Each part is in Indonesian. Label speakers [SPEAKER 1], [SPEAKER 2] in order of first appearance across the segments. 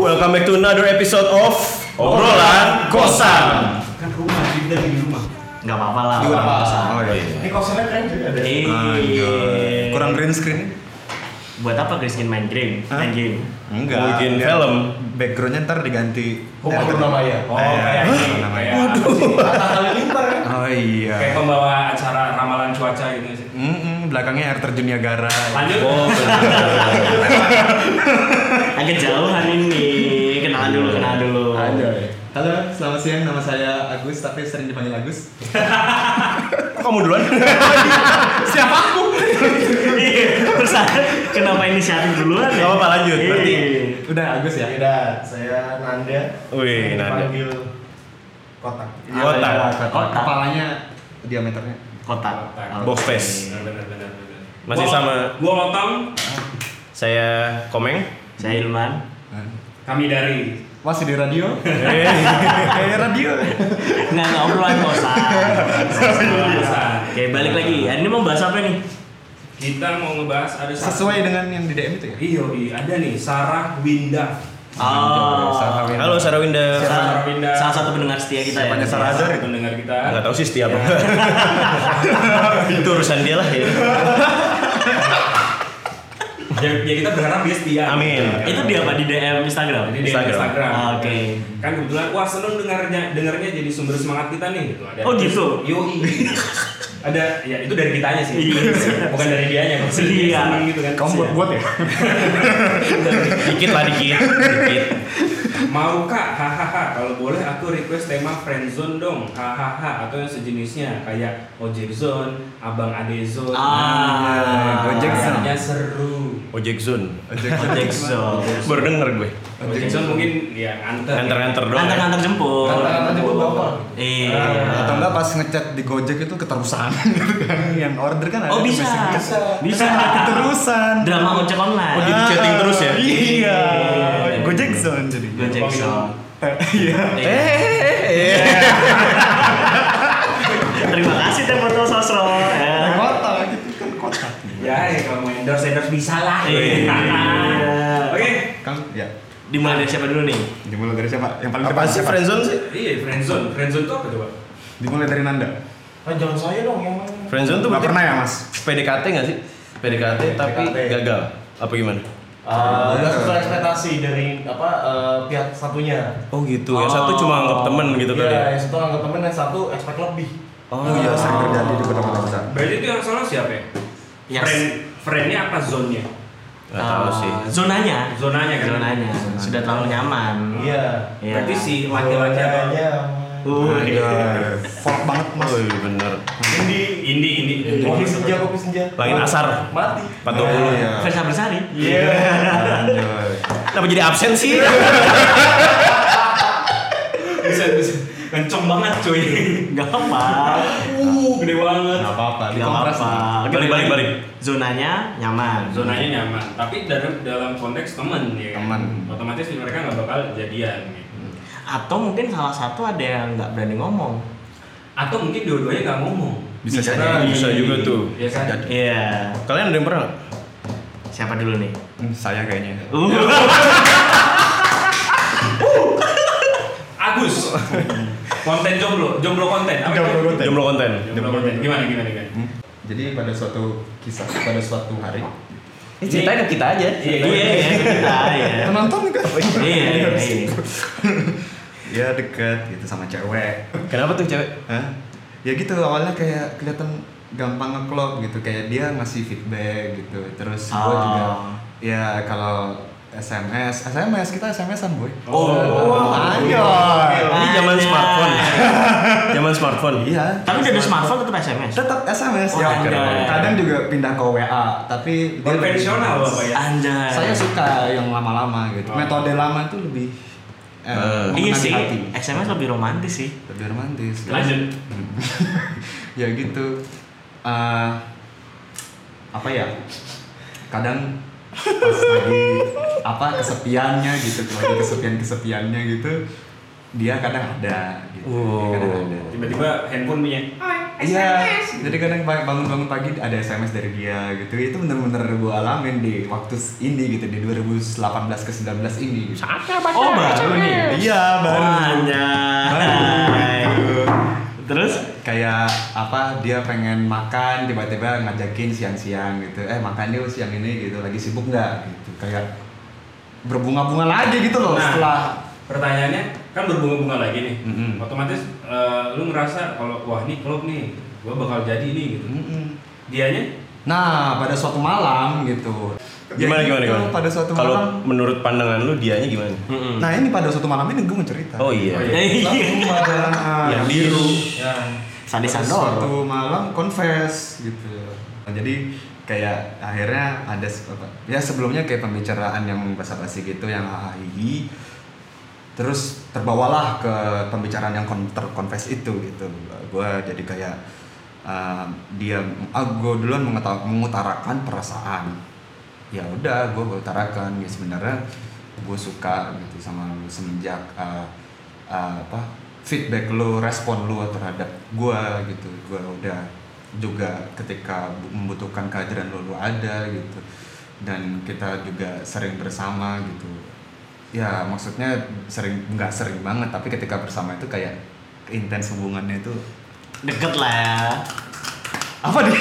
[SPEAKER 1] welcome back to another episode of Obrolan Kosan.
[SPEAKER 2] kan rumah kita lagi di rumah
[SPEAKER 3] Gak apa-apa lah.
[SPEAKER 4] Di
[SPEAKER 3] orang
[SPEAKER 4] rumah.
[SPEAKER 3] kosan.
[SPEAKER 4] Oh, iya.
[SPEAKER 2] ini kosannya keren juga ada
[SPEAKER 3] Eh,
[SPEAKER 4] Anjay. Kurang green screen?
[SPEAKER 3] Buat apa Chris Kin main game?
[SPEAKER 4] Hah?
[SPEAKER 3] Main game.
[SPEAKER 4] Enggak.
[SPEAKER 1] Bikin
[SPEAKER 4] Biar
[SPEAKER 1] film.
[SPEAKER 4] Backgroundnya ntar diganti.
[SPEAKER 2] rumah
[SPEAKER 4] Eh,
[SPEAKER 2] Purnamaya
[SPEAKER 5] Oh,
[SPEAKER 4] Eh,
[SPEAKER 1] iya.
[SPEAKER 5] kayak
[SPEAKER 4] hah?
[SPEAKER 5] ini, kayak apa sih?
[SPEAKER 2] kata kali lima kan
[SPEAKER 4] Oh
[SPEAKER 5] Kayak
[SPEAKER 4] iya.
[SPEAKER 5] pembawa acara ramalan cuaca gitu sih.
[SPEAKER 4] Mm-mm, belakangnya air terjun Niagara.
[SPEAKER 5] Lanjut.
[SPEAKER 3] Agak jauhan ini. Kenalan dulu, kenalan dulu.
[SPEAKER 4] Halo, selamat siang. Nama saya Agus, tapi sering dipanggil Agus.
[SPEAKER 1] Kok kamu duluan?
[SPEAKER 4] Siapa aku?
[SPEAKER 3] Terus Iya. kenapa ini siaran duluan? ya? Iya.
[SPEAKER 1] Gak apa-apa, lanjut. Berarti-
[SPEAKER 4] Udah Agus ya.
[SPEAKER 2] beda saya Nanda
[SPEAKER 1] Wih, Nanda.
[SPEAKER 2] panggil kotak
[SPEAKER 1] Kotak.
[SPEAKER 3] Kotak.
[SPEAKER 4] Iya, Kepalanya diameternya.
[SPEAKER 3] Kota.
[SPEAKER 1] Box face.
[SPEAKER 3] Iya.
[SPEAKER 5] Benar-benar.
[SPEAKER 1] Masih
[SPEAKER 5] Gua-
[SPEAKER 1] sama-
[SPEAKER 5] Gua lontong,
[SPEAKER 1] Saya Komeng.
[SPEAKER 3] Saya Ilman.
[SPEAKER 5] kami dari.
[SPEAKER 4] Masih di radio? Kayak radio.
[SPEAKER 3] Nggak ngobrolan kosan. Iya.
[SPEAKER 5] Obrolan kosan.
[SPEAKER 3] Oke, balik lagi. Hari ini mau bahas apa nih?
[SPEAKER 5] Kita mau ngebahas ada satu-
[SPEAKER 4] Sesuai dengan yang di DM itu ya.
[SPEAKER 5] Iya, iya. ada nih Sarah Winda.
[SPEAKER 3] Oh.
[SPEAKER 4] Sarah Winda.
[SPEAKER 1] Halo Sarah Winda.
[SPEAKER 3] Salah-
[SPEAKER 5] Sarah Winda.
[SPEAKER 3] Salah satu pendengar setia kita ya.
[SPEAKER 4] Siapanya Sarah? Azhar ya?
[SPEAKER 5] pendengar kita.
[SPEAKER 1] Gak tau sih setiap
[SPEAKER 4] Iya.
[SPEAKER 1] Itu urusan dia lah ya.
[SPEAKER 5] Ya, ya kita berharap dia setia.
[SPEAKER 1] Amin.
[SPEAKER 3] Itu dia apa di DM Instagram?
[SPEAKER 5] Jadi di Instagram.
[SPEAKER 1] Instagram.
[SPEAKER 3] Ah, Oke.
[SPEAKER 5] Kan kebetulan wah seneng dengarnya dengarnya jadi sumber semangat kita nih gitu. Ada
[SPEAKER 3] Oh, gitu?
[SPEAKER 5] Yoi. ada ya itu dari kitanya sih.
[SPEAKER 3] Iya.
[SPEAKER 5] Bukan dari dianya. Kalau
[SPEAKER 3] Iya.
[SPEAKER 5] dia Seneng gitu kan.
[SPEAKER 4] Kamu buat buat ya?
[SPEAKER 1] Dikit lah dikit. Dikit.
[SPEAKER 5] Mau kak, hahaha. Kalau boleh aku request tema friendzone dong, hahaha. Atau yang sejenisnya kayak ojek zone, abang ade zone. Nah, gitu.
[SPEAKER 3] Ah,
[SPEAKER 4] Gojek zone.
[SPEAKER 5] Kayaknya seru.
[SPEAKER 1] Ojek Zone.
[SPEAKER 3] Ojek zone.
[SPEAKER 1] Baru denger gue.
[SPEAKER 5] Ojek zone mungkin ya antar.
[SPEAKER 1] Nganter-nganter doang. ya.
[SPEAKER 3] Antar-antar jempol.
[SPEAKER 2] kata tipe bapak
[SPEAKER 3] Iya.
[SPEAKER 4] Atau enggak pas ngechat di Gojek itu keterusan yang order kan ada
[SPEAKER 3] Oh
[SPEAKER 4] tuh
[SPEAKER 3] bisa.
[SPEAKER 4] message.
[SPEAKER 3] Bisa.
[SPEAKER 4] keterusan.
[SPEAKER 3] Drama ojek online.
[SPEAKER 1] Oh, jadi chatting terus ya?
[SPEAKER 4] Iya.
[SPEAKER 3] Iya.
[SPEAKER 4] Gojek zone jadi.
[SPEAKER 3] Gojek zone.
[SPEAKER 4] Iya.
[SPEAKER 1] Eh,
[SPEAKER 3] Iya. Terima kasih Teh Foto Sosro.
[SPEAKER 4] Ada
[SPEAKER 3] Ya.
[SPEAKER 4] Kota gitu kan kota.
[SPEAKER 5] Ya, ya kamu endorse endorse bisa lah.
[SPEAKER 1] Iya.
[SPEAKER 5] Oke.
[SPEAKER 4] Kan ya
[SPEAKER 3] Dimulai dari siapa dulu nih?
[SPEAKER 4] dimulai dari siapa? Yang paling
[SPEAKER 1] Apa
[SPEAKER 4] depan
[SPEAKER 1] sih
[SPEAKER 4] siapa?
[SPEAKER 1] friendzone sih?
[SPEAKER 5] Iya, friendzone. Friendzone itu apa coba?
[SPEAKER 4] Dimulai dari Nanda.
[SPEAKER 2] ah jangan saya dong yang main
[SPEAKER 1] Friendzone tuh
[SPEAKER 4] Nggak
[SPEAKER 1] berarti
[SPEAKER 4] pernah ya, Mas?
[SPEAKER 1] PDKT gak sih? PDKT tapi
[SPEAKER 2] PDKT.
[SPEAKER 1] gagal. Apa gimana?
[SPEAKER 2] Ah, nggak sesuai ekspektasi dari apa eh, pihak satunya
[SPEAKER 1] Oh gitu. Yang satu cuma anggap temen gitu kali ya.
[SPEAKER 2] Iya, yang satu anggap temen, yang satu expect lebih
[SPEAKER 4] Oh iya sering terjadi
[SPEAKER 3] Eh,
[SPEAKER 4] di kota-kota besar.
[SPEAKER 5] Berarti itu yang salah siapa ya?
[SPEAKER 3] Yes.
[SPEAKER 5] Friend, friendnya apa zonnya?
[SPEAKER 1] Gak tau sih.
[SPEAKER 3] Eh, Zonanya.
[SPEAKER 5] Zonanya kan?
[SPEAKER 3] Zonanya. Sudah terlalu nyaman.
[SPEAKER 2] iya
[SPEAKER 3] Iya.
[SPEAKER 5] Berarti si laki-laki apa?
[SPEAKER 2] Orangnya
[SPEAKER 3] Oh,
[SPEAKER 4] Iya. Folk banget Mas.
[SPEAKER 1] Oh iya bener.
[SPEAKER 2] Indi
[SPEAKER 5] Indi, indi.
[SPEAKER 2] kopi senja, kopi senja
[SPEAKER 4] Oh.
[SPEAKER 1] Langit asar.
[SPEAKER 2] mati
[SPEAKER 1] 420.
[SPEAKER 4] Iya.
[SPEAKER 3] Versa Bersari. Iya
[SPEAKER 2] iya
[SPEAKER 4] Anjay.
[SPEAKER 1] Kenapa jadi absen sih?
[SPEAKER 5] Bisa, bisa. Kenceng banget cuy.
[SPEAKER 3] Gak apa.
[SPEAKER 5] Uh, gede banget.
[SPEAKER 4] Nggak apa-apa,
[SPEAKER 3] Gak
[SPEAKER 4] dikompres.
[SPEAKER 3] apa-apa.
[SPEAKER 1] Balik, balik, balik, balik.
[SPEAKER 3] Zonanya nyaman.
[SPEAKER 5] zonanya nyaman tapi dalam dalam konteks teman ya kan?
[SPEAKER 4] Teman.
[SPEAKER 5] otomatis mereka nggak bakal jadian gitu.
[SPEAKER 3] Atau mungkin salah satu ada yang nggak berani ngomong.
[SPEAKER 5] atau mungkin dua-duanya nggak ngomong
[SPEAKER 4] Bisa
[SPEAKER 3] Bisa
[SPEAKER 4] saja.
[SPEAKER 3] jadi.
[SPEAKER 1] Bisa juga tuh.
[SPEAKER 5] ya kan
[SPEAKER 4] Jadi.
[SPEAKER 3] Iya.
[SPEAKER 1] Kalian ada yang pernah? nggak?
[SPEAKER 3] Siapa dulu nih? Uh.
[SPEAKER 4] Hmm, Saya kayaknya.
[SPEAKER 5] Agus konten jomblo jomblo konten apa
[SPEAKER 4] Jomblo
[SPEAKER 5] itu?
[SPEAKER 4] konten.
[SPEAKER 1] Jomblo konten.
[SPEAKER 5] jomblo konten gimana gimana gimana
[SPEAKER 4] Hmm. Jadi pada suatu kisah pada suatu hari
[SPEAKER 5] Eh, ceritain
[SPEAKER 3] ke kita aja. Iya,
[SPEAKER 5] Ceritain.
[SPEAKER 3] iya, iya, ke kita ya.
[SPEAKER 4] penonton kan
[SPEAKER 3] Iya, iya, iya.
[SPEAKER 4] ya deket gitu sama cewek
[SPEAKER 1] Kenapa tuh cewek?
[SPEAKER 4] Hah? ya gitu awalnya kayak kelihatan gampang ngeklop gitu kayak dia ngasih feedback gitu terus gue
[SPEAKER 3] Ah.
[SPEAKER 4] juga ya kalau SMS SMS kita SMS-an boy Iya.
[SPEAKER 3] Oh.
[SPEAKER 4] ayo
[SPEAKER 1] Ini zaman
[SPEAKER 3] Ada.
[SPEAKER 1] smartphone. Zaman smartphone.
[SPEAKER 4] iya
[SPEAKER 3] Tapi udah ada smartphone tetap SMS.
[SPEAKER 4] tetap SMS
[SPEAKER 3] Oh,
[SPEAKER 4] ya
[SPEAKER 3] ada.
[SPEAKER 4] kadang juga pindah ke WA tapi dia lebih-
[SPEAKER 5] konvensional bapak ya
[SPEAKER 3] Anjay.
[SPEAKER 4] saya suka yang lama-lama gitu
[SPEAKER 5] Oh.
[SPEAKER 4] metode lama itu lebih
[SPEAKER 1] Eh.
[SPEAKER 4] eh,
[SPEAKER 3] Iya
[SPEAKER 4] mengenai
[SPEAKER 3] sih,
[SPEAKER 4] hati
[SPEAKER 3] SMS lebih romantis sih.
[SPEAKER 4] lebih romantis gitu.
[SPEAKER 5] lanjut
[SPEAKER 4] ya gitu Eh, apa ya kadang pas lagi apa kesepiannya gitu lagi kesepian kesepiannya gitu dia kadang ada gitu Dia kadang ada
[SPEAKER 1] Oh.
[SPEAKER 5] tiba-tiba handphone punya Hai.
[SPEAKER 6] Iya, jadi kadang pa- bangun-bangun pagi ada SMS dari dia gitu. Itu bener-bener gue alamin di waktu ini gitu di 2018 ke 19 ini. Gitu.
[SPEAKER 3] Oh baru nih. Oh,
[SPEAKER 1] Iya, baru.
[SPEAKER 3] Anjay. Terus?
[SPEAKER 6] Kayak apa dia pengen makan tiba-tiba ngajakin siang-siang gitu. Eh makan yuk siang ini gitu. Lagi sibuk nggak gitu. Kayak berbunga-bunga lagi gitu loh
[SPEAKER 5] Nah.
[SPEAKER 6] setelah
[SPEAKER 5] Pertanyaannya kan berbunga-bunga lagi nih.
[SPEAKER 6] Mm-mm.
[SPEAKER 5] Otomatis eh, lu ngerasa kalau wah ini klub nih, gua bakal jadi nih gitu.
[SPEAKER 6] Mm-mm.
[SPEAKER 5] Dianya
[SPEAKER 6] Nah, pada suatu malam gitu. Ya
[SPEAKER 1] Gimana
[SPEAKER 6] gitu,
[SPEAKER 1] gimana gimana?
[SPEAKER 6] Pada suatu
[SPEAKER 1] Kalau
[SPEAKER 6] malam.
[SPEAKER 1] menurut pandangan lu dianya gimana?
[SPEAKER 6] Nah, ini pada suatu malam ini gue cerita.
[SPEAKER 1] Oh iya.
[SPEAKER 5] Oh, iya.
[SPEAKER 6] Suatu malam, ah,
[SPEAKER 1] Yang biru.
[SPEAKER 5] ya
[SPEAKER 3] Sadisan
[SPEAKER 6] Suatu
[SPEAKER 3] doang.
[SPEAKER 6] malam confess gitu. Nah, jadi kayak akhirnya ada se- apa- ya sebelumnya kayak pembicaraan yang basa-basi gitu yang hahihi terus terbawalah ke pembicaraan Kan yang kon- terkonfes itu gitu gue jadi kayak um, dia ah gue duluan mengeta- mengutarakan perasaan ya udah gue utarakan ya sebenarnya gue suka gitu sama lu semenjak uh, uh, apa feedback lu respon lu terhadap gue gitu gue udah juga ketika bu- membutuhkan kehadiran lu lu ada gitu dan kita juga sering bersama gitu ya maksudnya sering nggak sering banget tapi ketika bersama itu kayak intens hubungannya itu
[SPEAKER 3] Deket lah.
[SPEAKER 6] apa di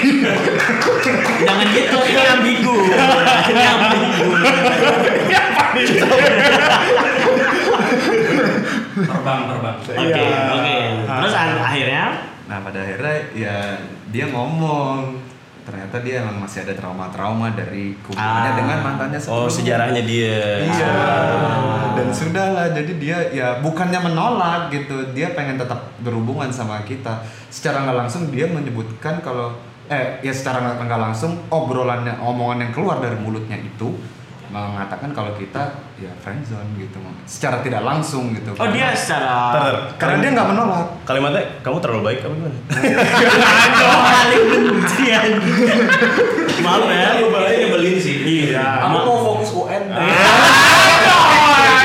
[SPEAKER 3] Jangan gitu, ini ambigu. Ini ambigu.
[SPEAKER 5] terbang terbang.
[SPEAKER 3] Oke, oke. Terus an- akhirnya?
[SPEAKER 6] nah pada akhirnya ya dia ngomong ternyata dia emang masih ada trauma-trauma dari hubungannya
[SPEAKER 3] Ah.
[SPEAKER 6] dengan mantannya
[SPEAKER 1] Oh
[SPEAKER 6] sebelumnya.
[SPEAKER 1] sejarahnya dia.
[SPEAKER 6] iya dan sudah lah jadi dia ya bukannya menolak gitu dia pengen tetap berhubungan sama kita secara nggak langsung dia menyebutkan kalau eh ya secara nggak nggak langsung obrolannya omongan yang keluar dari mulutnya itu mengatakan kalau kita ya friendzone gitu secara tidak langsung gitu
[SPEAKER 3] Oh dia
[SPEAKER 1] Ntar, ntar.
[SPEAKER 3] secara
[SPEAKER 6] karena dia nggak menolak
[SPEAKER 1] Kalimatnya kamu terlalu baik apa gimana?
[SPEAKER 3] paling benci anjing. Malu ya.
[SPEAKER 5] Lu balik nyebelin sih.
[SPEAKER 3] Iya.
[SPEAKER 4] Kamu mau fokus UN deh.
[SPEAKER 3] Ah,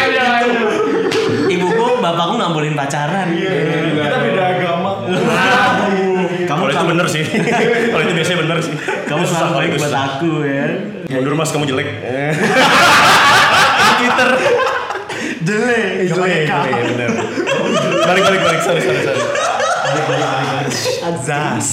[SPEAKER 3] Ibuku, bapakku nggak bolehin pacaran. iya.
[SPEAKER 4] Kita beda agama.
[SPEAKER 1] Kalau itu bener sih. Kalau itu biasanya bener sih.
[SPEAKER 3] Kamu selalu baik buat
[SPEAKER 1] Iya,
[SPEAKER 3] aku ya.
[SPEAKER 1] Mundur mas kamu jelek.
[SPEAKER 3] Jelek.
[SPEAKER 1] Jelek. Jelek. Iya, Bener. Balik balik balik sorry sorry sorry.
[SPEAKER 3] Azas.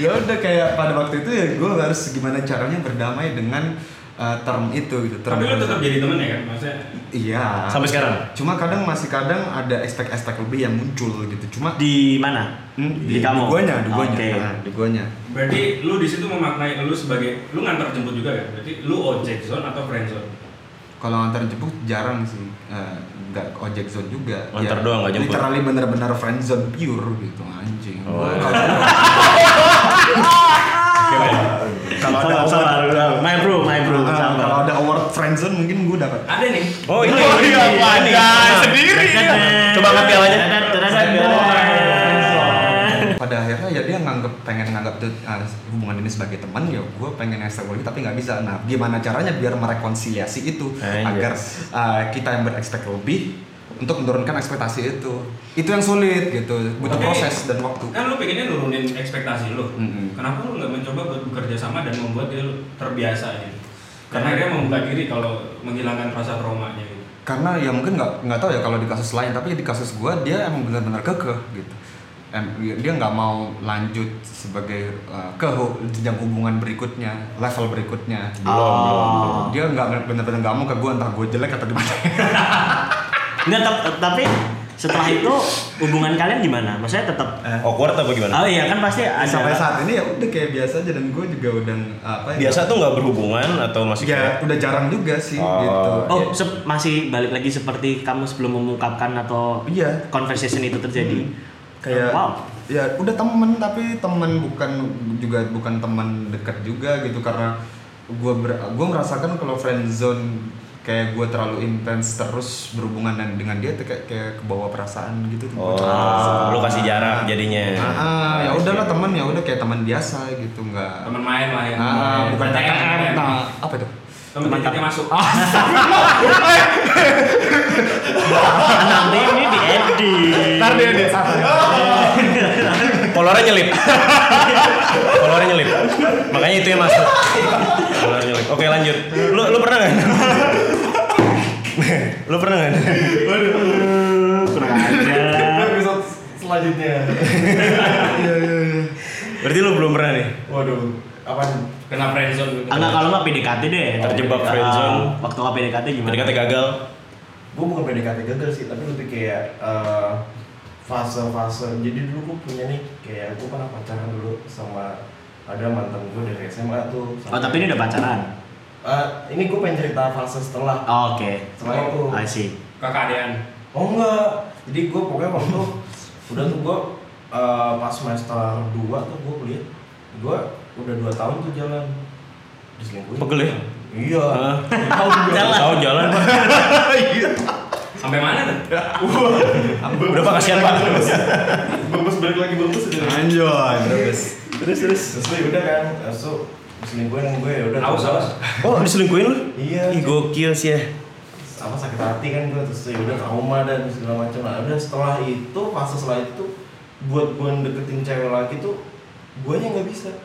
[SPEAKER 6] ya udah kayak pada waktu itu ya gue harus gimana caranya berdamai dengan uh, term itu gitu term
[SPEAKER 5] Tapi lu tetap jadi temen ya kan maksudnya.
[SPEAKER 6] iya
[SPEAKER 1] Sampai sekarang.
[SPEAKER 6] cuma kadang masih kadang ada aspek-aspek lebih yang muncul gitu cuma
[SPEAKER 3] Di mana?
[SPEAKER 6] Hmm,
[SPEAKER 3] Di kamu?
[SPEAKER 6] guanya di guanya
[SPEAKER 3] Oke.
[SPEAKER 6] nah, di guanya
[SPEAKER 5] Berarti lu di situ memaknai lu sebagai lu ngantar jemput juga kan? Berarti lu ojek zone atau friend zone?
[SPEAKER 6] kalau antar jemput jarang sih Eh, nggak ojek zone juga Ya,
[SPEAKER 1] Antar doang, nggak jemput.
[SPEAKER 6] literally bener-bener friend zone pure gitu anjing
[SPEAKER 1] Oh,
[SPEAKER 6] Gua
[SPEAKER 1] iya.
[SPEAKER 6] kalau-
[SPEAKER 3] Kalau ada
[SPEAKER 6] Sabar,
[SPEAKER 3] sabar, my bro, my bro,
[SPEAKER 6] Eh, kalau
[SPEAKER 3] sabar.
[SPEAKER 6] ada award friend zone mungkin gue dapat
[SPEAKER 5] Ada nih.
[SPEAKER 1] Oh ini.
[SPEAKER 3] Oh, iya,
[SPEAKER 1] ini.
[SPEAKER 3] pandai
[SPEAKER 1] Nah,
[SPEAKER 3] sendiri
[SPEAKER 1] nah,
[SPEAKER 3] dia.
[SPEAKER 1] Coba angkat pialanya.
[SPEAKER 3] Dadat, dadat, dadat.
[SPEAKER 6] pada akhirnya ya dia nganggep pengen nganggep tuh, eh, hubungan ini sebagai teman ya gue pengen ekstra lagi tapi nggak bisa nah gimana caranya biar merekonsiliasi itu
[SPEAKER 3] Ah,
[SPEAKER 1] Eh,
[SPEAKER 3] iya.
[SPEAKER 6] agar eh, kita yang berekspek lebih untuk menurunkan ekspektasi itu itu yang sulit gitu butuh
[SPEAKER 5] Tapi-
[SPEAKER 6] proses dan waktu
[SPEAKER 5] Kan lu pengennya nurunin ekspektasi lu.
[SPEAKER 6] Mm-mm.
[SPEAKER 5] Kenapa lu nggak mencoba buat bekerja sama dan membuat dia terbiasa gitu? Karena dia membuka diri kalau menghilangkan rasa traumanya gitu.
[SPEAKER 6] karena ya mungkin nggak nggak tahu ya kalau di kasus lain tapi di kasus gua dia emang benar-benar kekeh gitu Em- dia nggak mau lanjut sebagai uh, ke hu- jenjang hubungan berikutnya level berikutnya Ah.
[SPEAKER 3] Belum, belum.
[SPEAKER 6] dia nggak benar-benar nggak mau ke gua entah gua jelek atau gimana
[SPEAKER 3] Nggak, tap- tapi setelah itu hubungan kalian gimana? Maksudnya tetap
[SPEAKER 1] Awkward apa gimana?
[SPEAKER 3] Oh iya kan pasti ada
[SPEAKER 6] sampai saat ini ya udah kayak biasa aja dan gua juga udah apa ya,
[SPEAKER 1] Biasa tuh nggak berhubungan atau masih
[SPEAKER 6] ya
[SPEAKER 1] kayak-
[SPEAKER 6] udah jarang juga sih
[SPEAKER 1] Oh.
[SPEAKER 6] gitu
[SPEAKER 3] Oh, sep- masih balik lagi seperti kamu sebelum mengungkapkan atau
[SPEAKER 6] Iya. Hmm.
[SPEAKER 3] conversation itu terjadi. Oh,
[SPEAKER 6] kayak
[SPEAKER 3] wow.
[SPEAKER 6] ya udah temen tapi temen bukan juga bukan temen dekat juga gitu karena gua ber, gua merasakan kalau friend zone kayak gua terlalu intens terus berhubungan dan- dengan dia tuh kayak kayak kebawa perasaan gitu
[SPEAKER 1] Oh,
[SPEAKER 6] Perasaan.
[SPEAKER 1] lu kasih jarak jadinya.
[SPEAKER 6] Ah, ah, ya udahlah teman ya udah kayak teman biasa gitu nggak
[SPEAKER 5] Temen main lah ya.
[SPEAKER 6] ah, bukan
[SPEAKER 5] TM.
[SPEAKER 6] TM nah apa itu
[SPEAKER 5] teman
[SPEAKER 3] Mantap.
[SPEAKER 5] titiknya masuk
[SPEAKER 3] Nanti ini di edit.
[SPEAKER 6] Ntar dia
[SPEAKER 3] iya.
[SPEAKER 6] dia salah.
[SPEAKER 1] Kolornya nyelip. Kolornya nyelip. Makanya itu yang masuk. Kolornya nyelip. Oke, lanjut. Lu lu pernah nggak? lu pernah nggak?
[SPEAKER 3] Kurang aja.
[SPEAKER 4] episode selanjutnya.
[SPEAKER 1] Berarti lu belum pernah nih.
[SPEAKER 4] Waduh, apa nih?
[SPEAKER 5] kena friendzone gitu.
[SPEAKER 3] Enggak kalau Ah, nggak PDKT deh.
[SPEAKER 1] Terjebak
[SPEAKER 3] Ah,
[SPEAKER 1] friendzone.
[SPEAKER 3] Waktu nggak PDKT gimana?
[SPEAKER 1] Ketika gagal.
[SPEAKER 4] gue bukan PDKT gagal sih tapi lebih kayak eh, fase-fase jadi dulu gue punya nih kayak gue pernah pacaran dulu sama ada mantan gue dari SMA tuh
[SPEAKER 3] Oh tapi ini udah pacaran.
[SPEAKER 4] Eh, ini gue pengen cerita fase setelah
[SPEAKER 3] Oh, Oke.
[SPEAKER 4] setelah itu
[SPEAKER 3] I see.
[SPEAKER 5] Kakak Dean.
[SPEAKER 4] oh enggak jadi gue pokoknya waktu itu udah tuh gue eh, pas semester 2 tuh gue kuliah gue udah 2 tahun tuh jalan diselingkuhin
[SPEAKER 1] Pegel ya?
[SPEAKER 4] iya
[SPEAKER 1] Hah?
[SPEAKER 4] tahu
[SPEAKER 3] Jalan.
[SPEAKER 1] Tahu jalan.
[SPEAKER 5] Sampai mana tuh?
[SPEAKER 1] Udah Pak kasihan Pak.
[SPEAKER 4] bembes balik lagi bembes aja.
[SPEAKER 6] Anjay, terus.
[SPEAKER 1] Terus terus.
[SPEAKER 4] Terus gue udah kan, terus tuh diselingkuhin sama gue ya udah.
[SPEAKER 5] Aus, aus.
[SPEAKER 1] Oh, diselingkuhin lu?
[SPEAKER 4] Iya.
[SPEAKER 1] Ih, gokil sih ya.
[SPEAKER 4] Sama sakit hati kan gue terus ya udah trauma dan segala macam. Nah, udah setelah itu fase setelah itu buat gue deketin cewek lagi tuh gue nya nggak bisa.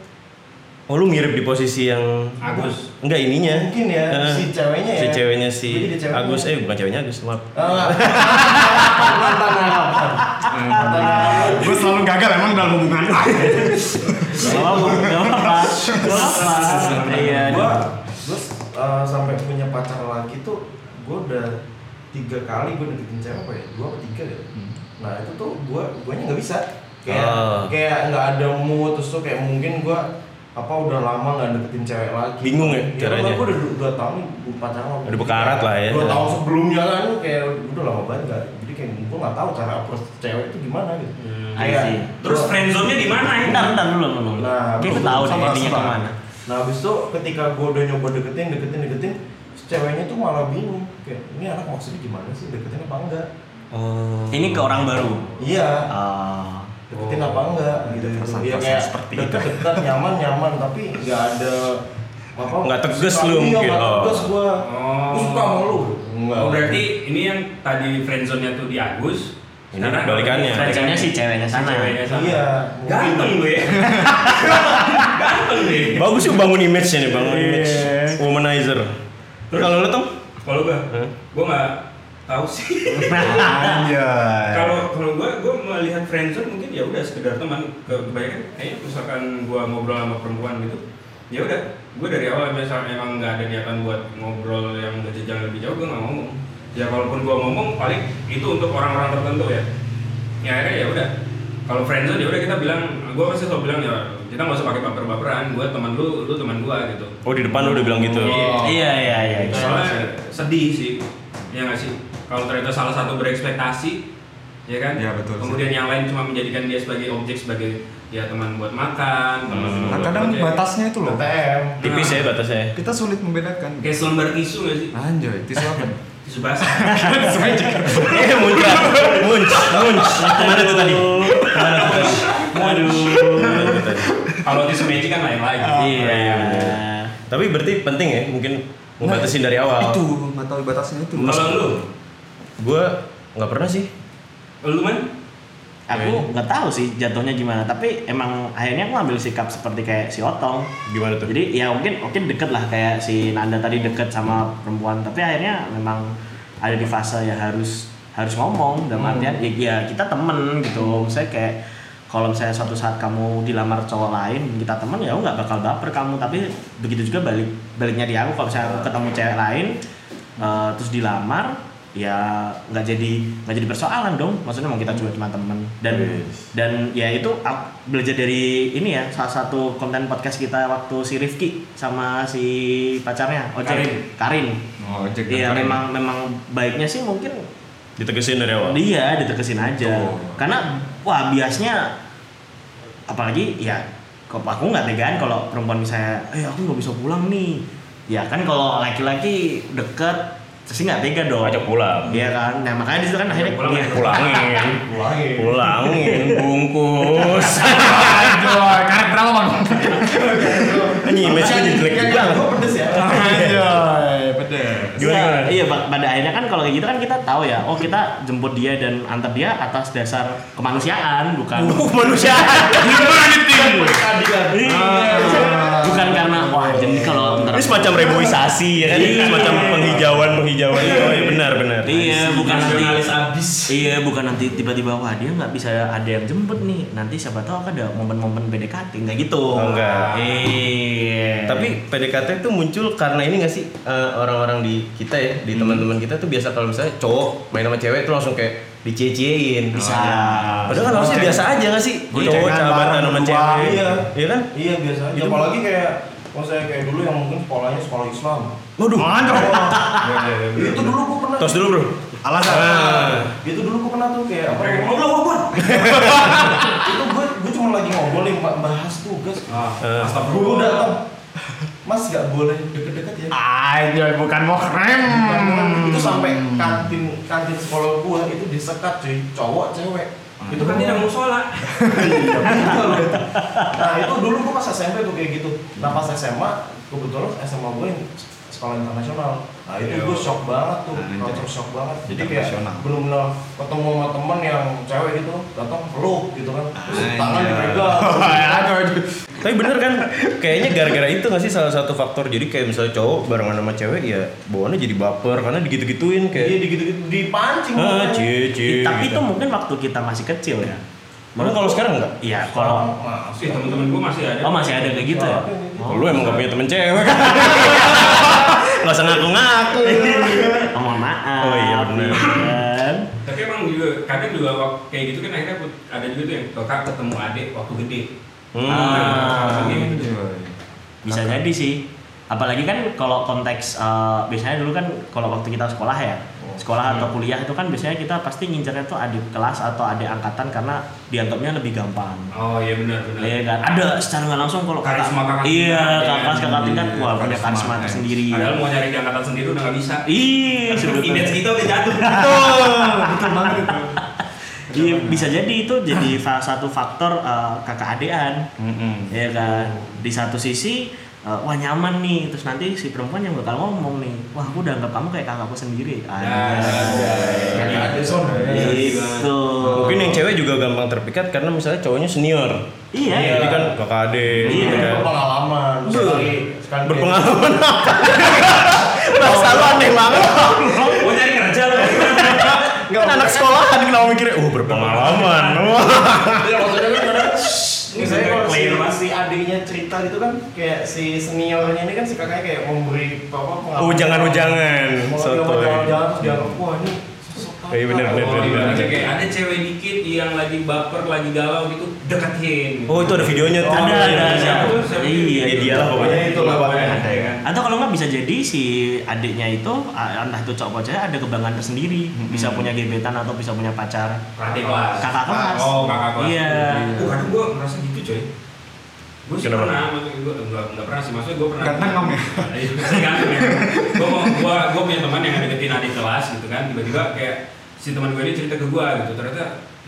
[SPEAKER 1] Oh, lu mirip di posisi yang
[SPEAKER 5] Agus.
[SPEAKER 1] enggak ininya.
[SPEAKER 4] Mungkin ya
[SPEAKER 1] Eh,
[SPEAKER 4] si ceweknya ya.
[SPEAKER 1] Si ceweknya si
[SPEAKER 4] Gue jadi ceweknya.
[SPEAKER 1] Agus eh bukan ceweknya Agus, maaf.
[SPEAKER 4] Ah, mantan, mantan.
[SPEAKER 6] Gue selalu gagal emang dalam hubungan.
[SPEAKER 3] Gak apa-apa. Gak apa-apa. Gak apa-apa. Iya.
[SPEAKER 4] Gue Nah, terus eh, sampai punya pacar lagi tuh gue udah tiga kali gue deketin cewek apa ya dua apa tiga ya nah itu tuh gue guanya nggak bisa kayak
[SPEAKER 1] Hmm. Ah.
[SPEAKER 4] kayak nggak ada mood terus tuh kayak mungkin gue apa udah lama nggak deketin cewek lagi
[SPEAKER 1] Bingung ya caranya?
[SPEAKER 4] gue udah dua tahun gue pacaran sama-
[SPEAKER 1] Udah bekarat lah ya.
[SPEAKER 4] dua tahun sebelumnya kan kayak udah lama banget nggak jadi kayak gue nggak tahu cara approach cewek itu gimana gitu
[SPEAKER 5] Hmm.
[SPEAKER 3] I
[SPEAKER 4] Kayak-
[SPEAKER 3] see.
[SPEAKER 5] Terus friendzone-nya di mana ya?
[SPEAKER 3] Bentar, bentar dulu, dulu.
[SPEAKER 4] Nah,
[SPEAKER 3] Kayak gue
[SPEAKER 4] belum
[SPEAKER 3] tahu deh
[SPEAKER 6] sama-
[SPEAKER 3] intinya
[SPEAKER 6] sama.
[SPEAKER 3] kemana.
[SPEAKER 4] Nah habis itu ketika gue udah nyoba deketin, deketin, deketin terus Ceweknya tuh malah bingung Kayak ini anak maksudnya gimana sih, deketin apa enggak?
[SPEAKER 1] Oh.
[SPEAKER 3] Ini ke orang baru.
[SPEAKER 4] Iya,
[SPEAKER 3] Ah.
[SPEAKER 4] deketin apa enggak gitu gitu
[SPEAKER 6] perasaan-
[SPEAKER 4] Ya
[SPEAKER 6] perasaan
[SPEAKER 4] kayak
[SPEAKER 6] seperti itu.
[SPEAKER 4] deket, dekat nyaman, nyaman Tapi nggak ada apa
[SPEAKER 1] Nggak tegas
[SPEAKER 4] sikap-
[SPEAKER 1] lu
[SPEAKER 4] iya,
[SPEAKER 1] mungkin,
[SPEAKER 4] nggak
[SPEAKER 1] oh.
[SPEAKER 4] tegas gue
[SPEAKER 5] Oh.
[SPEAKER 4] Gue suka sama lu Enggak
[SPEAKER 5] Oh, berarti ini yang tadi friendzone-nya tuh di Agus.
[SPEAKER 1] Ini kebalikannya.
[SPEAKER 3] Friendzone-nya si ceweknya
[SPEAKER 5] Iya, Si
[SPEAKER 3] sana.
[SPEAKER 5] ceweknya sana.
[SPEAKER 4] Iya,
[SPEAKER 5] Ganteng
[SPEAKER 4] mungkin.
[SPEAKER 5] gue. Ganteng deh.
[SPEAKER 1] Bagus sih bangun image nih, bangun
[SPEAKER 4] Iya.
[SPEAKER 1] image. Womanizer. Lu kalau lu tuh?
[SPEAKER 5] Kalau gue,
[SPEAKER 1] Hah?
[SPEAKER 5] gue nggak tahu sih.
[SPEAKER 6] Anjay.
[SPEAKER 5] Kalau kalau gue, gue melihat friendzone mungkin ya udah sekedar teman. Ke- Kebanyakan, kayaknya misalkan gue ngobrol sama perempuan gitu, ya udah. Gue dari awal misalnya emang nggak ada niatan buat ngobrol yang berjenjang lebih jauh, gue nggak ngomong. Ya kalaupun gue ngomong, paling itu untuk orang-orang tertentu ya. Ya akhirnya ya udah. Kalau friendzone ya udah kita bilang, gue pasti selalu bilang ya kita nggak usah pakai baper-baperan. Gue teman lu, lu teman gue gitu.
[SPEAKER 1] Oh, di depan lu udah bilang gitu.
[SPEAKER 5] Iya.
[SPEAKER 3] Iya, iya, iya. iya.
[SPEAKER 5] Soalnya sedih sih, ya nggak sih. Kalau ternyata salah satu berekspektasi, ya kan.
[SPEAKER 6] Iya, betul sih.
[SPEAKER 5] Kemudian yang lain cuma menjadikan dia sebagai objek sebagai ya teman buat makan, teman
[SPEAKER 1] Hmm.
[SPEAKER 6] Nah,
[SPEAKER 5] buat
[SPEAKER 6] kadang
[SPEAKER 5] project.
[SPEAKER 6] batasnya itu loh.
[SPEAKER 4] ATM
[SPEAKER 1] Tipis ya batasnya.
[SPEAKER 6] Kita sulit membedakan.
[SPEAKER 5] kayak selembar tisu nggak sih?
[SPEAKER 6] Anjay, tisu apa?
[SPEAKER 5] Tisu basah.
[SPEAKER 1] Eh, muncrat. Munc, munc. Kemana tuh tadi? Kemana tuh tadi?
[SPEAKER 3] Waduh.
[SPEAKER 5] Kalau tisu magic kan lain lagi.
[SPEAKER 3] Iya.
[SPEAKER 1] Tapi berarti penting ya, mungkin ngebatasin dari awal.
[SPEAKER 6] Nah, Itu, nggak tahu batasnya itu.
[SPEAKER 5] Kalau lu,
[SPEAKER 1] Gue nggak pernah sih.
[SPEAKER 5] lu man?
[SPEAKER 3] Aku nggak tahu sih jatuhnya gimana, tapi emang akhirnya aku ngambil sikap seperti kayak si Otong.
[SPEAKER 1] Gimana tuh?
[SPEAKER 3] Jadi ya mungkin mungkin deket lah kayak si Nanda tadi deket sama perempuan, tapi akhirnya memang ada di fase ya harus harus ngomong dalam artian ya, ya kita temen gitu. Saya kayak kalau misalnya suatu saat kamu dilamar cowok lain kita temen ya aku nggak bakal baper kamu tapi begitu juga balik baliknya di aku kalau misalnya aku ketemu cewek lain eh, terus dilamar ya nggak jadi nggak jadi persoalan dong maksudnya mau kita juga cuma temen dan
[SPEAKER 1] Yes.
[SPEAKER 3] dan ya itu aku belajar dari ini ya salah satu konten podcast kita waktu si Rifki sama si pacarnya Ojek
[SPEAKER 5] Karin.
[SPEAKER 3] Karin.
[SPEAKER 6] Oh, ojek dan
[SPEAKER 3] Iya
[SPEAKER 6] keren.
[SPEAKER 3] memang memang baiknya sih mungkin
[SPEAKER 1] Ditegesin dari awal.
[SPEAKER 3] Iya, ditekesin aja.
[SPEAKER 6] Betul.
[SPEAKER 3] Karena wah biasanya apalagi ya kok aku nggak tegaan kalau perempuan misalnya, eh aku nggak bisa pulang nih. Ya kan kalau laki-laki deket pasti nggak tega dong.
[SPEAKER 1] Ajak pulang.
[SPEAKER 3] Iya kan, nah makanya di situ kan akhirnya
[SPEAKER 5] pulang,
[SPEAKER 3] iya.
[SPEAKER 5] ajak
[SPEAKER 1] Pulangin.
[SPEAKER 4] Ulangin
[SPEAKER 1] Pulangin, bungkus.
[SPEAKER 6] Anjay, karet berapa bang?
[SPEAKER 1] Ini image-nya jelek
[SPEAKER 4] Yang
[SPEAKER 1] banget.
[SPEAKER 4] gue pedes ya
[SPEAKER 6] Anjay.
[SPEAKER 3] Iya, kayak gitu kan kita tahu ya oh kita jemput dia dan antar dia atas dasar kemanusiaan bukan
[SPEAKER 1] manusia
[SPEAKER 3] Iya.
[SPEAKER 1] Ah.
[SPEAKER 3] bukan karena wah jadi kalau ntar-
[SPEAKER 1] Ini semacam reboisasi ya kan? Ini
[SPEAKER 3] Iya.
[SPEAKER 1] semacam penghijauan penghijauan. Oh, iya, benar benar.
[SPEAKER 3] iya bukan
[SPEAKER 5] Nasionalis
[SPEAKER 3] nanti
[SPEAKER 5] abis.
[SPEAKER 3] iya bukan nanti tiba-tiba wah dia nggak bisa ada yang jemput nih nanti siapa tahu kan ada momen-momen PDKT nggak gitu
[SPEAKER 1] Oh, nggak.
[SPEAKER 3] iya
[SPEAKER 6] Eh.
[SPEAKER 1] Tapi PDKT itu muncul karena ini nggak sih eh, orang-orang di kita ya, di
[SPEAKER 6] Hmm.
[SPEAKER 1] teman-teman kita tuh biasa kalau misalnya cowok main sama cewek tuh langsung kayak
[SPEAKER 6] Ah.
[SPEAKER 1] dicie-ciein.
[SPEAKER 3] bisa
[SPEAKER 1] Padahal kan harusnya biasa aja nggak sih?
[SPEAKER 6] Boncengan
[SPEAKER 1] Cowok sahabatan
[SPEAKER 6] bareng
[SPEAKER 1] sama
[SPEAKER 6] berdua.
[SPEAKER 1] cewek.
[SPEAKER 4] Iya.
[SPEAKER 1] Iya kan?
[SPEAKER 4] Iya biasa aja.
[SPEAKER 1] Itu-
[SPEAKER 4] Apalagi kayak maksudnya kayak dulu yang mungkin sekolahnya sekolah Islam.
[SPEAKER 1] Waduh.
[SPEAKER 4] itu dulu gua pernah.
[SPEAKER 1] Tos dulu, Bro. Ah.
[SPEAKER 6] Alasan.
[SPEAKER 4] Itu dulu gua pernah tuh kayak apa? Ngobrol gua. Itu gua gua cuma lagi ngobrol nih ba- bahas tugas.
[SPEAKER 5] Ah,
[SPEAKER 1] Eh.
[SPEAKER 4] Guru datang. Mas nggak boleh deket-deket ya.
[SPEAKER 6] Ah, dia bukan mau krem.
[SPEAKER 4] Itu sampai kantin kantin sekolah gua itu disekat cuy, cowok cewek.
[SPEAKER 5] Itu kan dia yang musola.
[SPEAKER 4] Iya, betul. nah itu dulu gue pas SMP tuh kayak gitu nah pas SMA kebetulan SMA gue yang sekolah internasional nah itu
[SPEAKER 5] Iya.
[SPEAKER 4] gue shock banget tuh
[SPEAKER 6] Nah,
[SPEAKER 4] culture shock banget jadi kayak
[SPEAKER 6] Internasional.
[SPEAKER 4] bener-bener ketemu sama temen yang cewek gitu datang peluk gitu kan terus
[SPEAKER 6] Anjay.
[SPEAKER 4] tangan dipegang
[SPEAKER 6] Aduh.
[SPEAKER 1] Tapi bener kan? Kayaknya gara-gara itu nggak sih salah satu faktor. Jadi kayak misalnya cowok barengan sama cewek ya bawaannya jadi baper karena digitu-gituin
[SPEAKER 4] jadi
[SPEAKER 6] Iya.
[SPEAKER 1] kayak.
[SPEAKER 4] gitu-gitu Iya, dipancing
[SPEAKER 1] Ah,
[SPEAKER 4] Nah, makanya.
[SPEAKER 1] cie, cie.
[SPEAKER 3] tapi
[SPEAKER 1] gitu.
[SPEAKER 3] itu mungkin waktu kita masih kecil ya
[SPEAKER 1] Emang kalau sekarang enggak?
[SPEAKER 3] iya kalau
[SPEAKER 4] nah.
[SPEAKER 5] Sih teman-teman gua masih ada.
[SPEAKER 3] Oh masih ada kayak gitu ya?
[SPEAKER 1] Oh, lu emang gak punya temen cewek kan? gak usah ngaku-ngaku
[SPEAKER 3] Oh, mohon maaf.
[SPEAKER 1] Oh, iya, bener.
[SPEAKER 3] Iya.
[SPEAKER 5] Tapi emang juga kadang juga waktu kayak gitu kan akhirnya put- ada juga tuh yang kakak ketemu adik waktu gede.
[SPEAKER 1] Hmm.
[SPEAKER 5] Ah, ini gitu.
[SPEAKER 3] Bisa jadi sih. Apalagi kan kalau konteks eh, biasanya dulu kan kalau waktu kita sekolah ya,
[SPEAKER 5] Oh, iya.
[SPEAKER 3] sekolah atau kuliah itu kan biasanya kita pasti ngincernya tuh adik kelas atau adik angkatan karena dianggapnya lebih gampang.
[SPEAKER 5] Oh iya benar benar.
[SPEAKER 3] Iya kan? Ada secara nggak langsung kalau kakak-
[SPEAKER 5] Karisma kakak
[SPEAKER 3] Iya,
[SPEAKER 5] tingkat,
[SPEAKER 3] kakak
[SPEAKER 5] ya.
[SPEAKER 3] kelas kakak tingkat wah punya
[SPEAKER 6] Karisma,
[SPEAKER 3] karisma
[SPEAKER 5] iya.
[SPEAKER 6] ya.
[SPEAKER 3] tersendiri.
[SPEAKER 5] Padahal mau nyari di angkatan sendiri udah nggak bisa.
[SPEAKER 3] Ih,
[SPEAKER 5] Indeks
[SPEAKER 3] sebetulnya.
[SPEAKER 5] Iya, kita udah jatuh.
[SPEAKER 3] Iya, bisa jadi itu jadi salah satu faktor eh, kakak adean. ya kan di satu sisi uh, wah nyaman nih terus nanti si perempuan yang bakal ngomong nih wah aku udah anggap kamu kayak kakakku sendiri Ah,
[SPEAKER 1] Iya.
[SPEAKER 5] Ya, Iya.
[SPEAKER 4] Kayak ada son
[SPEAKER 3] Anjay. gitu
[SPEAKER 1] Mungkin yang cewek juga gampang terpikat karena misalnya cowoknya senior
[SPEAKER 3] Iya.
[SPEAKER 1] Jadi kan kakak ade
[SPEAKER 3] Iya.
[SPEAKER 1] gitu
[SPEAKER 4] Itu
[SPEAKER 1] kan
[SPEAKER 4] berpengalaman sekali sekali
[SPEAKER 1] Berpengalaman apa? Bahasa lu aneh banget
[SPEAKER 3] Oh, iya.
[SPEAKER 5] Mau nyari kerja loh.
[SPEAKER 1] Kan anak sekolahan kenapa mikirnya, uh berpengalaman
[SPEAKER 4] Iya maksudnya kan kadang ini saya kalau si,
[SPEAKER 5] Clear, Mas.
[SPEAKER 4] si adiknya cerita gitu kan kayak si seniornya ini kan si kakaknya kayak memberi apa pengalaman.
[SPEAKER 1] Ujangan-ujangan Sotoy
[SPEAKER 4] Soto. Ujangan-ujangan terus dia wah ini sosok kakak.
[SPEAKER 1] Iya, bener, bener,
[SPEAKER 5] Oh,
[SPEAKER 1] bener.
[SPEAKER 5] iya, oke, oke. ada cewek dikit yang lagi baper, lagi galau gitu, deketin.
[SPEAKER 1] Oh itu ada videonya tuh
[SPEAKER 3] ada ada
[SPEAKER 5] iya.
[SPEAKER 3] ada iya
[SPEAKER 1] Ya, dia lah pokoknya. Iya,
[SPEAKER 4] Pokoknya itu lah pokoknya.
[SPEAKER 5] Ada ya kan.
[SPEAKER 3] atau kalau nggak bisa jadi si adiknya itu uh, entah itu cowok atau cewek ada kebanggaan tersendiri bisa punya gebetan atau bisa punya pacar
[SPEAKER 5] Kakak kelas.
[SPEAKER 3] kakak kelas
[SPEAKER 5] Oh, kakak kelas.
[SPEAKER 3] iya
[SPEAKER 5] Uh, kadang gue merasa gitu coy gue sih
[SPEAKER 1] Kenapa?
[SPEAKER 5] pernah maksudnya gue enggak, enggak pernah sih maksudnya gue pernah
[SPEAKER 6] Ganteng kamu ya?
[SPEAKER 5] Iya, saya ganteng ya gue gue gue punya teman yang ngedeketin adik kelas gitu kan tiba-tiba kayak si teman gue ini cerita ke gue gitu ternyata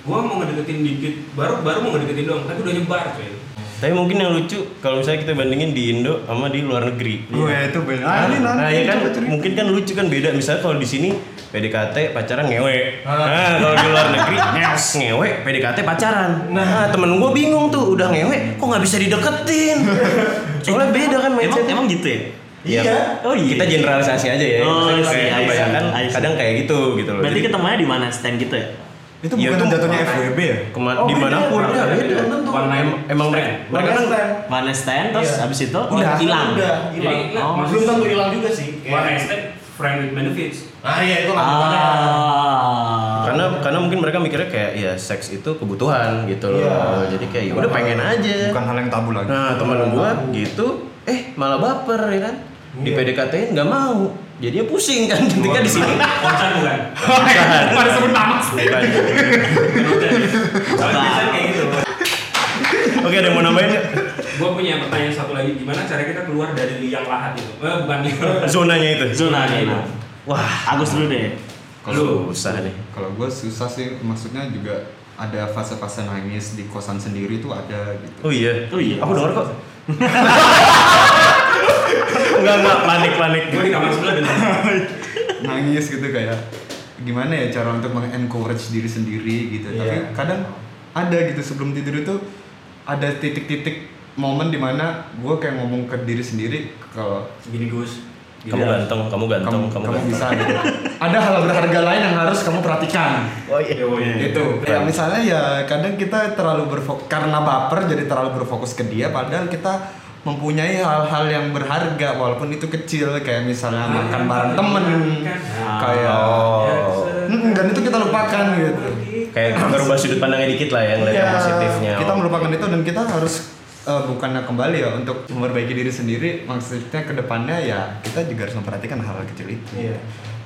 [SPEAKER 5] gue mau ngedeketin dikit baru baru mau ngedeketin doang tapi udah nyebar coy
[SPEAKER 1] Tapi mungkin yang lucu kalau misalnya kita bandingin di Indo sama di luar negeri
[SPEAKER 6] Gue itu benar. Ah, ini nanti.
[SPEAKER 1] Nah, ya kan
[SPEAKER 6] coba cerita.
[SPEAKER 1] mungkin kan lucu kan beda. Misalnya kalau di sini PDKT pacaran ngewe. Nah, kalau di luar negeri ngeos ngewe PDKT pacaran. Nah, temen gue bingung tuh udah ngewe kok nggak bisa dideketin. Soalnya beda kan
[SPEAKER 3] emang
[SPEAKER 1] mindset.
[SPEAKER 3] emang gitu ya
[SPEAKER 1] Iya.
[SPEAKER 3] oh iya
[SPEAKER 1] Kita generalisasi aja ya.
[SPEAKER 3] Oh,
[SPEAKER 1] Maksudnya
[SPEAKER 3] iya,
[SPEAKER 1] kayak
[SPEAKER 3] iya,
[SPEAKER 1] kebanyakan
[SPEAKER 3] iya, iya.
[SPEAKER 1] kadang kayak gitu gitu loh.
[SPEAKER 3] berarti
[SPEAKER 1] Jadi
[SPEAKER 3] ketemunya di mana stand gitu ya
[SPEAKER 6] Itu
[SPEAKER 1] Iya,
[SPEAKER 6] bukan
[SPEAKER 1] itu-
[SPEAKER 6] jatuhnya FWB ya?
[SPEAKER 1] kema-
[SPEAKER 4] Oh,
[SPEAKER 1] dimanapun
[SPEAKER 4] beda,
[SPEAKER 1] ya,
[SPEAKER 4] beda,
[SPEAKER 1] beda.
[SPEAKER 4] tentu.
[SPEAKER 5] Online
[SPEAKER 1] Em- emang mereka
[SPEAKER 5] stand.
[SPEAKER 1] mereka kan
[SPEAKER 3] mana stand terus
[SPEAKER 4] Iya.
[SPEAKER 3] habis itu oh,
[SPEAKER 6] Udah.
[SPEAKER 3] hilang
[SPEAKER 4] Udah,
[SPEAKER 5] Jadi,
[SPEAKER 4] hilang.
[SPEAKER 5] nah,
[SPEAKER 3] Oh,
[SPEAKER 5] maksud-
[SPEAKER 4] Belum tentu hilang ya? juga sih.
[SPEAKER 5] one
[SPEAKER 4] Kayak-
[SPEAKER 5] night stand friend with benefits
[SPEAKER 4] Nah, iya itu lanjutannya.
[SPEAKER 3] Ah.
[SPEAKER 1] karena karena mungkin mereka mikirnya kayak ya seks itu kebutuhan gitu loh.
[SPEAKER 4] Iya.
[SPEAKER 1] Jadi kayak ya udah pengen aja.
[SPEAKER 6] Bukan hal yang tabu lagi.
[SPEAKER 1] Nah teman gua gitu, eh malah baper ya kan? Di
[SPEAKER 4] Iya.
[SPEAKER 1] PDKT nggak mau, jadinya pusing kan? Ketika di sini
[SPEAKER 5] konser bukan
[SPEAKER 1] ada sebut nama.
[SPEAKER 5] Bukan konser. soalnya biasanya kayak gitu
[SPEAKER 1] Oke ada yang mau nambahin nggak?
[SPEAKER 5] gue punya pertanyaan satu lagi gimana cara kita keluar dari liang lahat itu eh, bukan liang lahat
[SPEAKER 1] zonanya itu.
[SPEAKER 3] Zona gitu.
[SPEAKER 1] Wah
[SPEAKER 3] Agus dulu deh.
[SPEAKER 5] Kalau-
[SPEAKER 1] susah nih.
[SPEAKER 6] Kalau gue susah sih, maksudnya juga ada fase-fase nangis di kosan sendiri tuh ada gitu.
[SPEAKER 1] Oh iya.
[SPEAKER 3] Oh iya.
[SPEAKER 1] Aku denger kok. Enggak enggak panik panik.
[SPEAKER 5] gue di kamar sebelah dan
[SPEAKER 6] Nangis gitu kayak gimana ya cara untuk meng-encourage diri sendiri gitu tapi
[SPEAKER 4] Iya.
[SPEAKER 6] kadang ada gitu sebelum tidur itu ada titik-titik momen dimana gue kayak ngomong ke diri sendiri kalau
[SPEAKER 5] Gini Gus. Gini.
[SPEAKER 1] Kamu ganteng, kamu ganteng,
[SPEAKER 6] kamu,
[SPEAKER 1] kamu,
[SPEAKER 6] kamu
[SPEAKER 1] ganteng.
[SPEAKER 6] bisa gitu. ada hal berharga lain yang harus kamu perhatikan
[SPEAKER 3] Oh
[SPEAKER 4] iya.
[SPEAKER 5] Ya, woy.
[SPEAKER 6] itu ya
[SPEAKER 1] Keren.
[SPEAKER 6] misalnya ya kadang kita terlalu berfokus karena baper jadi terlalu berfokus ke dia padahal kita mempunyai hal-hal yang berharga walaupun itu kecil kayak misalnya
[SPEAKER 5] Iya,
[SPEAKER 6] makan bareng temen kayak
[SPEAKER 5] Ya,
[SPEAKER 1] Oh.
[SPEAKER 5] se-
[SPEAKER 6] Mm, dan itu kita lupakan gitu
[SPEAKER 1] Kayak merubah sudut pandangnya dikit lah ya ngeliat yang
[SPEAKER 6] Ya,
[SPEAKER 1] positifnya.
[SPEAKER 6] kita melupakan itu dan kita harus eh, bukannya kembali ya untuk memperbaiki diri sendiri maksudnya kedepannya ya kita juga harus memperhatikan hal-hal kecil itu
[SPEAKER 4] Iya.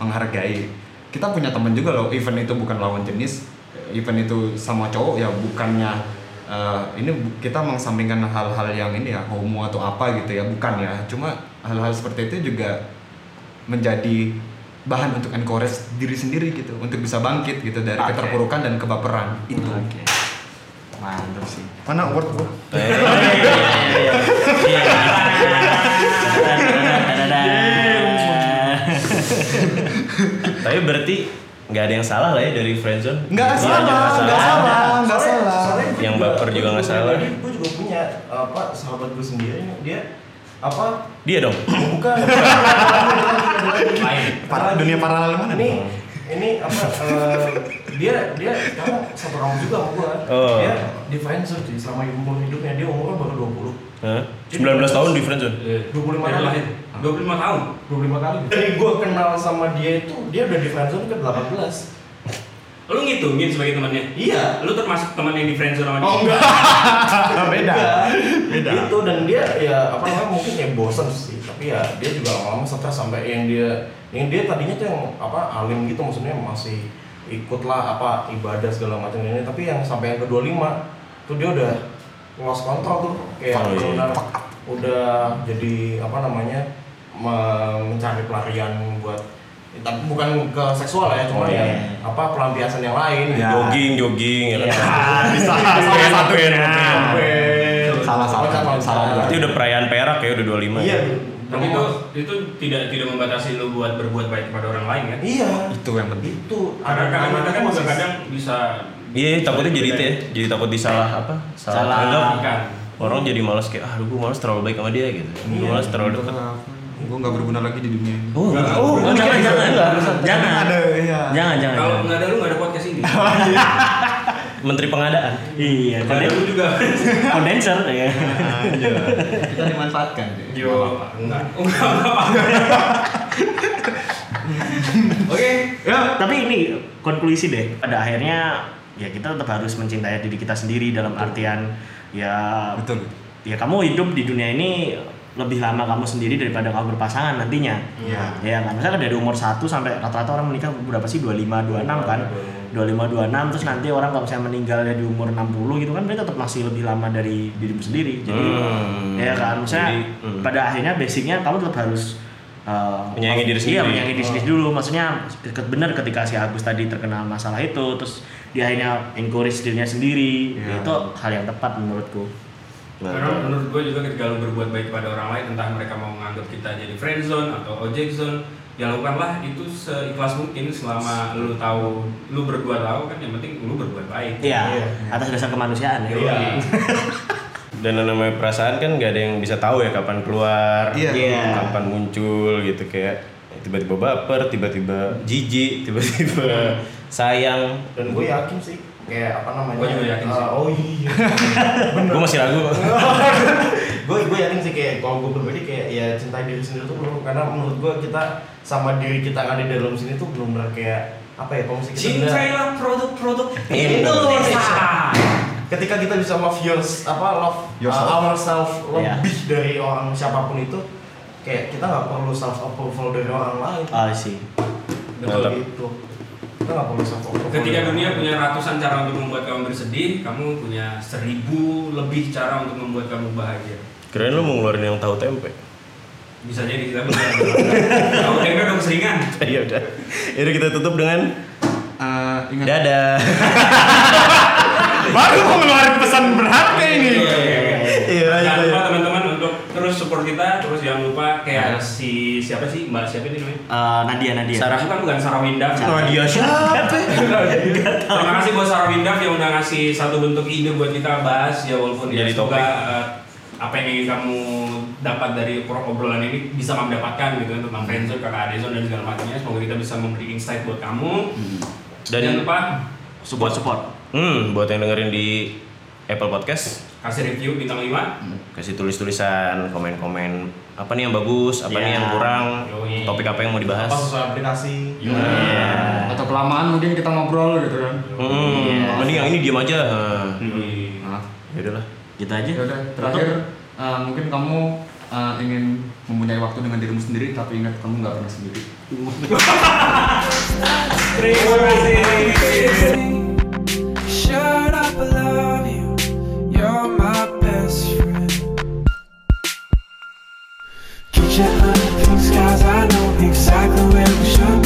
[SPEAKER 6] menghargai kita punya temen juga loh event itu bukan lawan jenis event itu sama cowok ya bukannya eh, ini bu- kita mengesampingkan hal-hal yang ini ya homo atau apa gitu ya bukan ya cuma hal-hal seperti itu juga menjadi bahan untuk encourage diri sendiri gitu untuk bisa bangkit gitu dari
[SPEAKER 3] Oke.
[SPEAKER 6] keterpurukan dan kebaperan itu
[SPEAKER 3] Oke. Mantap sih. Iya,
[SPEAKER 6] mana award gua?
[SPEAKER 1] Oh. Iya,
[SPEAKER 3] Iya.
[SPEAKER 1] Tapi berarti nggak ada yang salah lah ya dari friendzone?
[SPEAKER 6] nggak
[SPEAKER 1] Iya,
[SPEAKER 6] salah nggak salah nggak
[SPEAKER 4] Soalnya-
[SPEAKER 6] salah
[SPEAKER 4] soalnya gua
[SPEAKER 1] Yang baper juga nggak
[SPEAKER 4] gua
[SPEAKER 1] salah.
[SPEAKER 4] pribadi, Gua juga punya apa sahabat gua sendiri nih, dia apa
[SPEAKER 1] Dia dong.
[SPEAKER 4] bukan
[SPEAKER 6] Para- dunia paralel mana
[SPEAKER 4] ini ini apa eh, dia dia sekarang satu tahun juga sama gua
[SPEAKER 1] Oh.
[SPEAKER 4] dia di friendzone cuy selama umur hidupnya dia umurnya baru 20
[SPEAKER 1] Hah? 19 tahun di friendzone.
[SPEAKER 5] Iya.
[SPEAKER 4] 25
[SPEAKER 5] Dari
[SPEAKER 4] tahun.
[SPEAKER 5] lahir. 25 tahun.
[SPEAKER 4] 25 kali dari gua kenal sama dia itu dia udah di friendzone ke 18
[SPEAKER 5] Lu ngitungin sebagai temannya?
[SPEAKER 4] iya
[SPEAKER 5] Lu termasuk teman yang di friendzone sama dia?
[SPEAKER 4] Oh enggak.
[SPEAKER 6] Beda. Beda.
[SPEAKER 4] Itu dan dia ya apa namanya mungkin ya bosan sih, tapi ya dia juga lama-lama stres sampai yang dia yang dia tadinya tuh yang apa alim gitu maksudnya masih ikutlah apa ibadah segala macam ini, tapi yang sampai yang ke-25 tuh dia udah lost kontrol tuh kayak
[SPEAKER 1] Fuck, iya.
[SPEAKER 4] benar udah jadi apa namanya me- mencari pelarian buat tapi bukan ke seksual ya,
[SPEAKER 1] Oh,
[SPEAKER 4] cuma
[SPEAKER 1] iya.
[SPEAKER 4] ya apa pelampiasan yang lain.
[SPEAKER 6] Iya.
[SPEAKER 1] Jogging, jogging ya kan.
[SPEAKER 6] bisa
[SPEAKER 1] Salah satu ya.
[SPEAKER 6] Salah, salah. Salah.
[SPEAKER 1] Berarti udah perayaan perak ya udah 25.
[SPEAKER 4] Iya.
[SPEAKER 5] Tapi itu itu tidak tidak membatasi lu buat berbuat baik kepada orang lain kan?
[SPEAKER 4] Iya.
[SPEAKER 6] itu yang penting
[SPEAKER 4] Itu
[SPEAKER 5] Karena kadang-kadang kan juga kadang bisa
[SPEAKER 1] Iya, takutnya jadi itu ya. Jadi takut disalah apa? Salah,
[SPEAKER 3] Salah.
[SPEAKER 1] tanggap.
[SPEAKER 5] Kan.
[SPEAKER 1] Orang jadi malas kayak ah gue malas terlalu baik sama dia gitu. Gue
[SPEAKER 4] Iya.
[SPEAKER 1] malas terlalu dekat.
[SPEAKER 6] gue nggak berguna lagi di dunia ini
[SPEAKER 1] Oh,
[SPEAKER 5] Enggak.
[SPEAKER 1] oh,
[SPEAKER 3] Oh, jangan, jangan. Jangan.
[SPEAKER 6] ada iya
[SPEAKER 3] Jangan, jangan.
[SPEAKER 5] Kalau
[SPEAKER 3] jangan.
[SPEAKER 5] nggak ada lu nggak ada podcast ini.
[SPEAKER 1] Menteri Pengadaan.
[SPEAKER 3] Iya,
[SPEAKER 5] Nggak ada
[SPEAKER 3] konden-
[SPEAKER 5] lu juga.
[SPEAKER 3] kondenser ya.
[SPEAKER 6] Iya. kita dimanfaatkan deh
[SPEAKER 5] Yo, enggak. Enggak apa-apa. Oke.
[SPEAKER 6] ya
[SPEAKER 3] Tapi ini konklusi deh. Pada akhirnya ya kita tetap harus mencintai diri kita sendiri dalam artian ya
[SPEAKER 6] betul
[SPEAKER 3] ya kamu hidup di dunia ini lebih lama kamu sendiri daripada kamu berpasangan nantinya.
[SPEAKER 6] Iya.
[SPEAKER 3] Ya kan, misalnya dari umur 1 sampai rata-rata orang menikah berapa sih? 25, 26 kan? 25, 26 terus nanti orang kalau misalnya meninggalnya di umur 60 gitu kan berarti tetap masih lebih lama dari dirimu sendiri. Jadi
[SPEAKER 1] Hmm.
[SPEAKER 3] ya kan, misalnya
[SPEAKER 1] Jadi, hmm.
[SPEAKER 3] pada akhirnya basicnya kamu tetap harus uh,
[SPEAKER 1] Menyayangi diri
[SPEAKER 3] Iya,
[SPEAKER 1] sendiri. Oh.
[SPEAKER 3] menyayangi diri sendiri dulu. Maksudnya ke- benar ketika si Agus tadi terkena masalah itu terus dia akhirnya encourage dirinya sendiri.
[SPEAKER 6] Iya.
[SPEAKER 3] Itu hal yang tepat menurutku.
[SPEAKER 5] Karena menurut gue juga ketika lu berbuat baik kepada orang lain entah mereka mau menganggap kita jadi friendzone atau ojek zone ya lakukanlah itu seikhlas mungkin selama lu tahu lu berdua tahu kan yang penting lu berbuat baik
[SPEAKER 3] Iya,
[SPEAKER 4] Iya.
[SPEAKER 3] atas dasar kemanusiaan ya.
[SPEAKER 4] Iya.
[SPEAKER 1] dan yang namanya perasaan kan nggak ada yang bisa tahu ya kapan keluar,
[SPEAKER 6] Iya.
[SPEAKER 3] Iya.
[SPEAKER 1] kapan muncul gitu kayak tiba-tiba baper, tiba-tiba jijik, tiba-tiba sayang.
[SPEAKER 4] Dan gue yakin sih kayak apa namanya?
[SPEAKER 5] Gua juga yakin
[SPEAKER 4] eh,
[SPEAKER 5] sih.
[SPEAKER 4] oh iya.
[SPEAKER 1] Gue masih ragu.
[SPEAKER 4] gue gue yakin sih kayak kalau gue pribadi kayak ya cintai diri sendiri tuh belum karena menurut gue kita sama diri kita yang ada di dalam sini tuh belum benar kayak apa ya kalau misalnya kita benar-
[SPEAKER 5] cintailah produk-produk
[SPEAKER 4] Indonesia. ketika kita bisa love yours apa love
[SPEAKER 6] Yourself.
[SPEAKER 4] uh, ourselves
[SPEAKER 3] Iya.
[SPEAKER 4] lebih dari orang siapapun itu kayak kita nggak perlu self approval dari orang lain
[SPEAKER 3] Oh, sih.
[SPEAKER 5] Betul.
[SPEAKER 1] Mantap.
[SPEAKER 4] gitu kita nggak perlu self approval
[SPEAKER 5] ketika dunia punya ratusan cara untuk membuat kamu bersedih kamu punya seribu lebih cara untuk membuat kamu bahagia
[SPEAKER 1] Keren lu mau ngeluarin yang tahu tempe.
[SPEAKER 5] bisa jadi kita bisa kamu tembak dong seringan
[SPEAKER 1] Iya udah. Jadi kita tutup dengan
[SPEAKER 6] Eh, ingat
[SPEAKER 1] dadah.
[SPEAKER 6] baru mau ngeluarin pesan berharga ini
[SPEAKER 5] Iya, iya, iya.
[SPEAKER 1] Iya,
[SPEAKER 5] Nah, Jangan
[SPEAKER 1] iya.
[SPEAKER 5] lupa teman-teman untuk terus support kita terus jangan lupa kayak
[SPEAKER 6] Nah.
[SPEAKER 5] si siapa sih Mbak siapa itu namanya?
[SPEAKER 3] Eh, Nadia Nadia
[SPEAKER 5] Sarah bukan bukan Sarah Windav.
[SPEAKER 1] Nadia Iya. siapa?
[SPEAKER 5] Terima kasih buat Sarah Windav yang udah ngasih satu bentuk ide buat kita bahas ya walaupun
[SPEAKER 1] Jadi
[SPEAKER 5] ya
[SPEAKER 1] topik.
[SPEAKER 5] semoga eh, apa yang ingin kamu dapat dari pro- obrolan ini bisa kamu dapatkan gitu tentang
[SPEAKER 1] Hmm.
[SPEAKER 5] friendzone, kakak adezone dan segala macamnya. Semoga kita bisa memberi insight buat kamu.
[SPEAKER 1] Hmm. Dan
[SPEAKER 5] Dan jangan lupa
[SPEAKER 3] support support
[SPEAKER 1] hmm, buat yang dengerin di Apple Podcast
[SPEAKER 5] kasih review bintang 5
[SPEAKER 1] kasih tulis-tulisan, komen-komen apa nih yang bagus, apa nih
[SPEAKER 3] Iya.
[SPEAKER 1] yang kurang,
[SPEAKER 5] Yoi.
[SPEAKER 1] topik apa yang mau dibahas.
[SPEAKER 4] Apa sesuai aplikasi?
[SPEAKER 6] Atau kelamaan mungkin kita ngobrol gitu kan.
[SPEAKER 1] Hmm, mending yang ini diam aja. Hah.
[SPEAKER 6] Nah,
[SPEAKER 1] Ya udahlah.
[SPEAKER 3] Hmm. gitu aja
[SPEAKER 6] ya udah terakhir eh, mungkin kamu eh, ingin mempunyai waktu dengan dirimu sendiri tapi ingat kamu nggak pernah sendiri.
[SPEAKER 5] Terima kasih.
[SPEAKER 7] Shut up, I love you. You're my best friend. Keep your eye on things, 'cause I know exactly where we should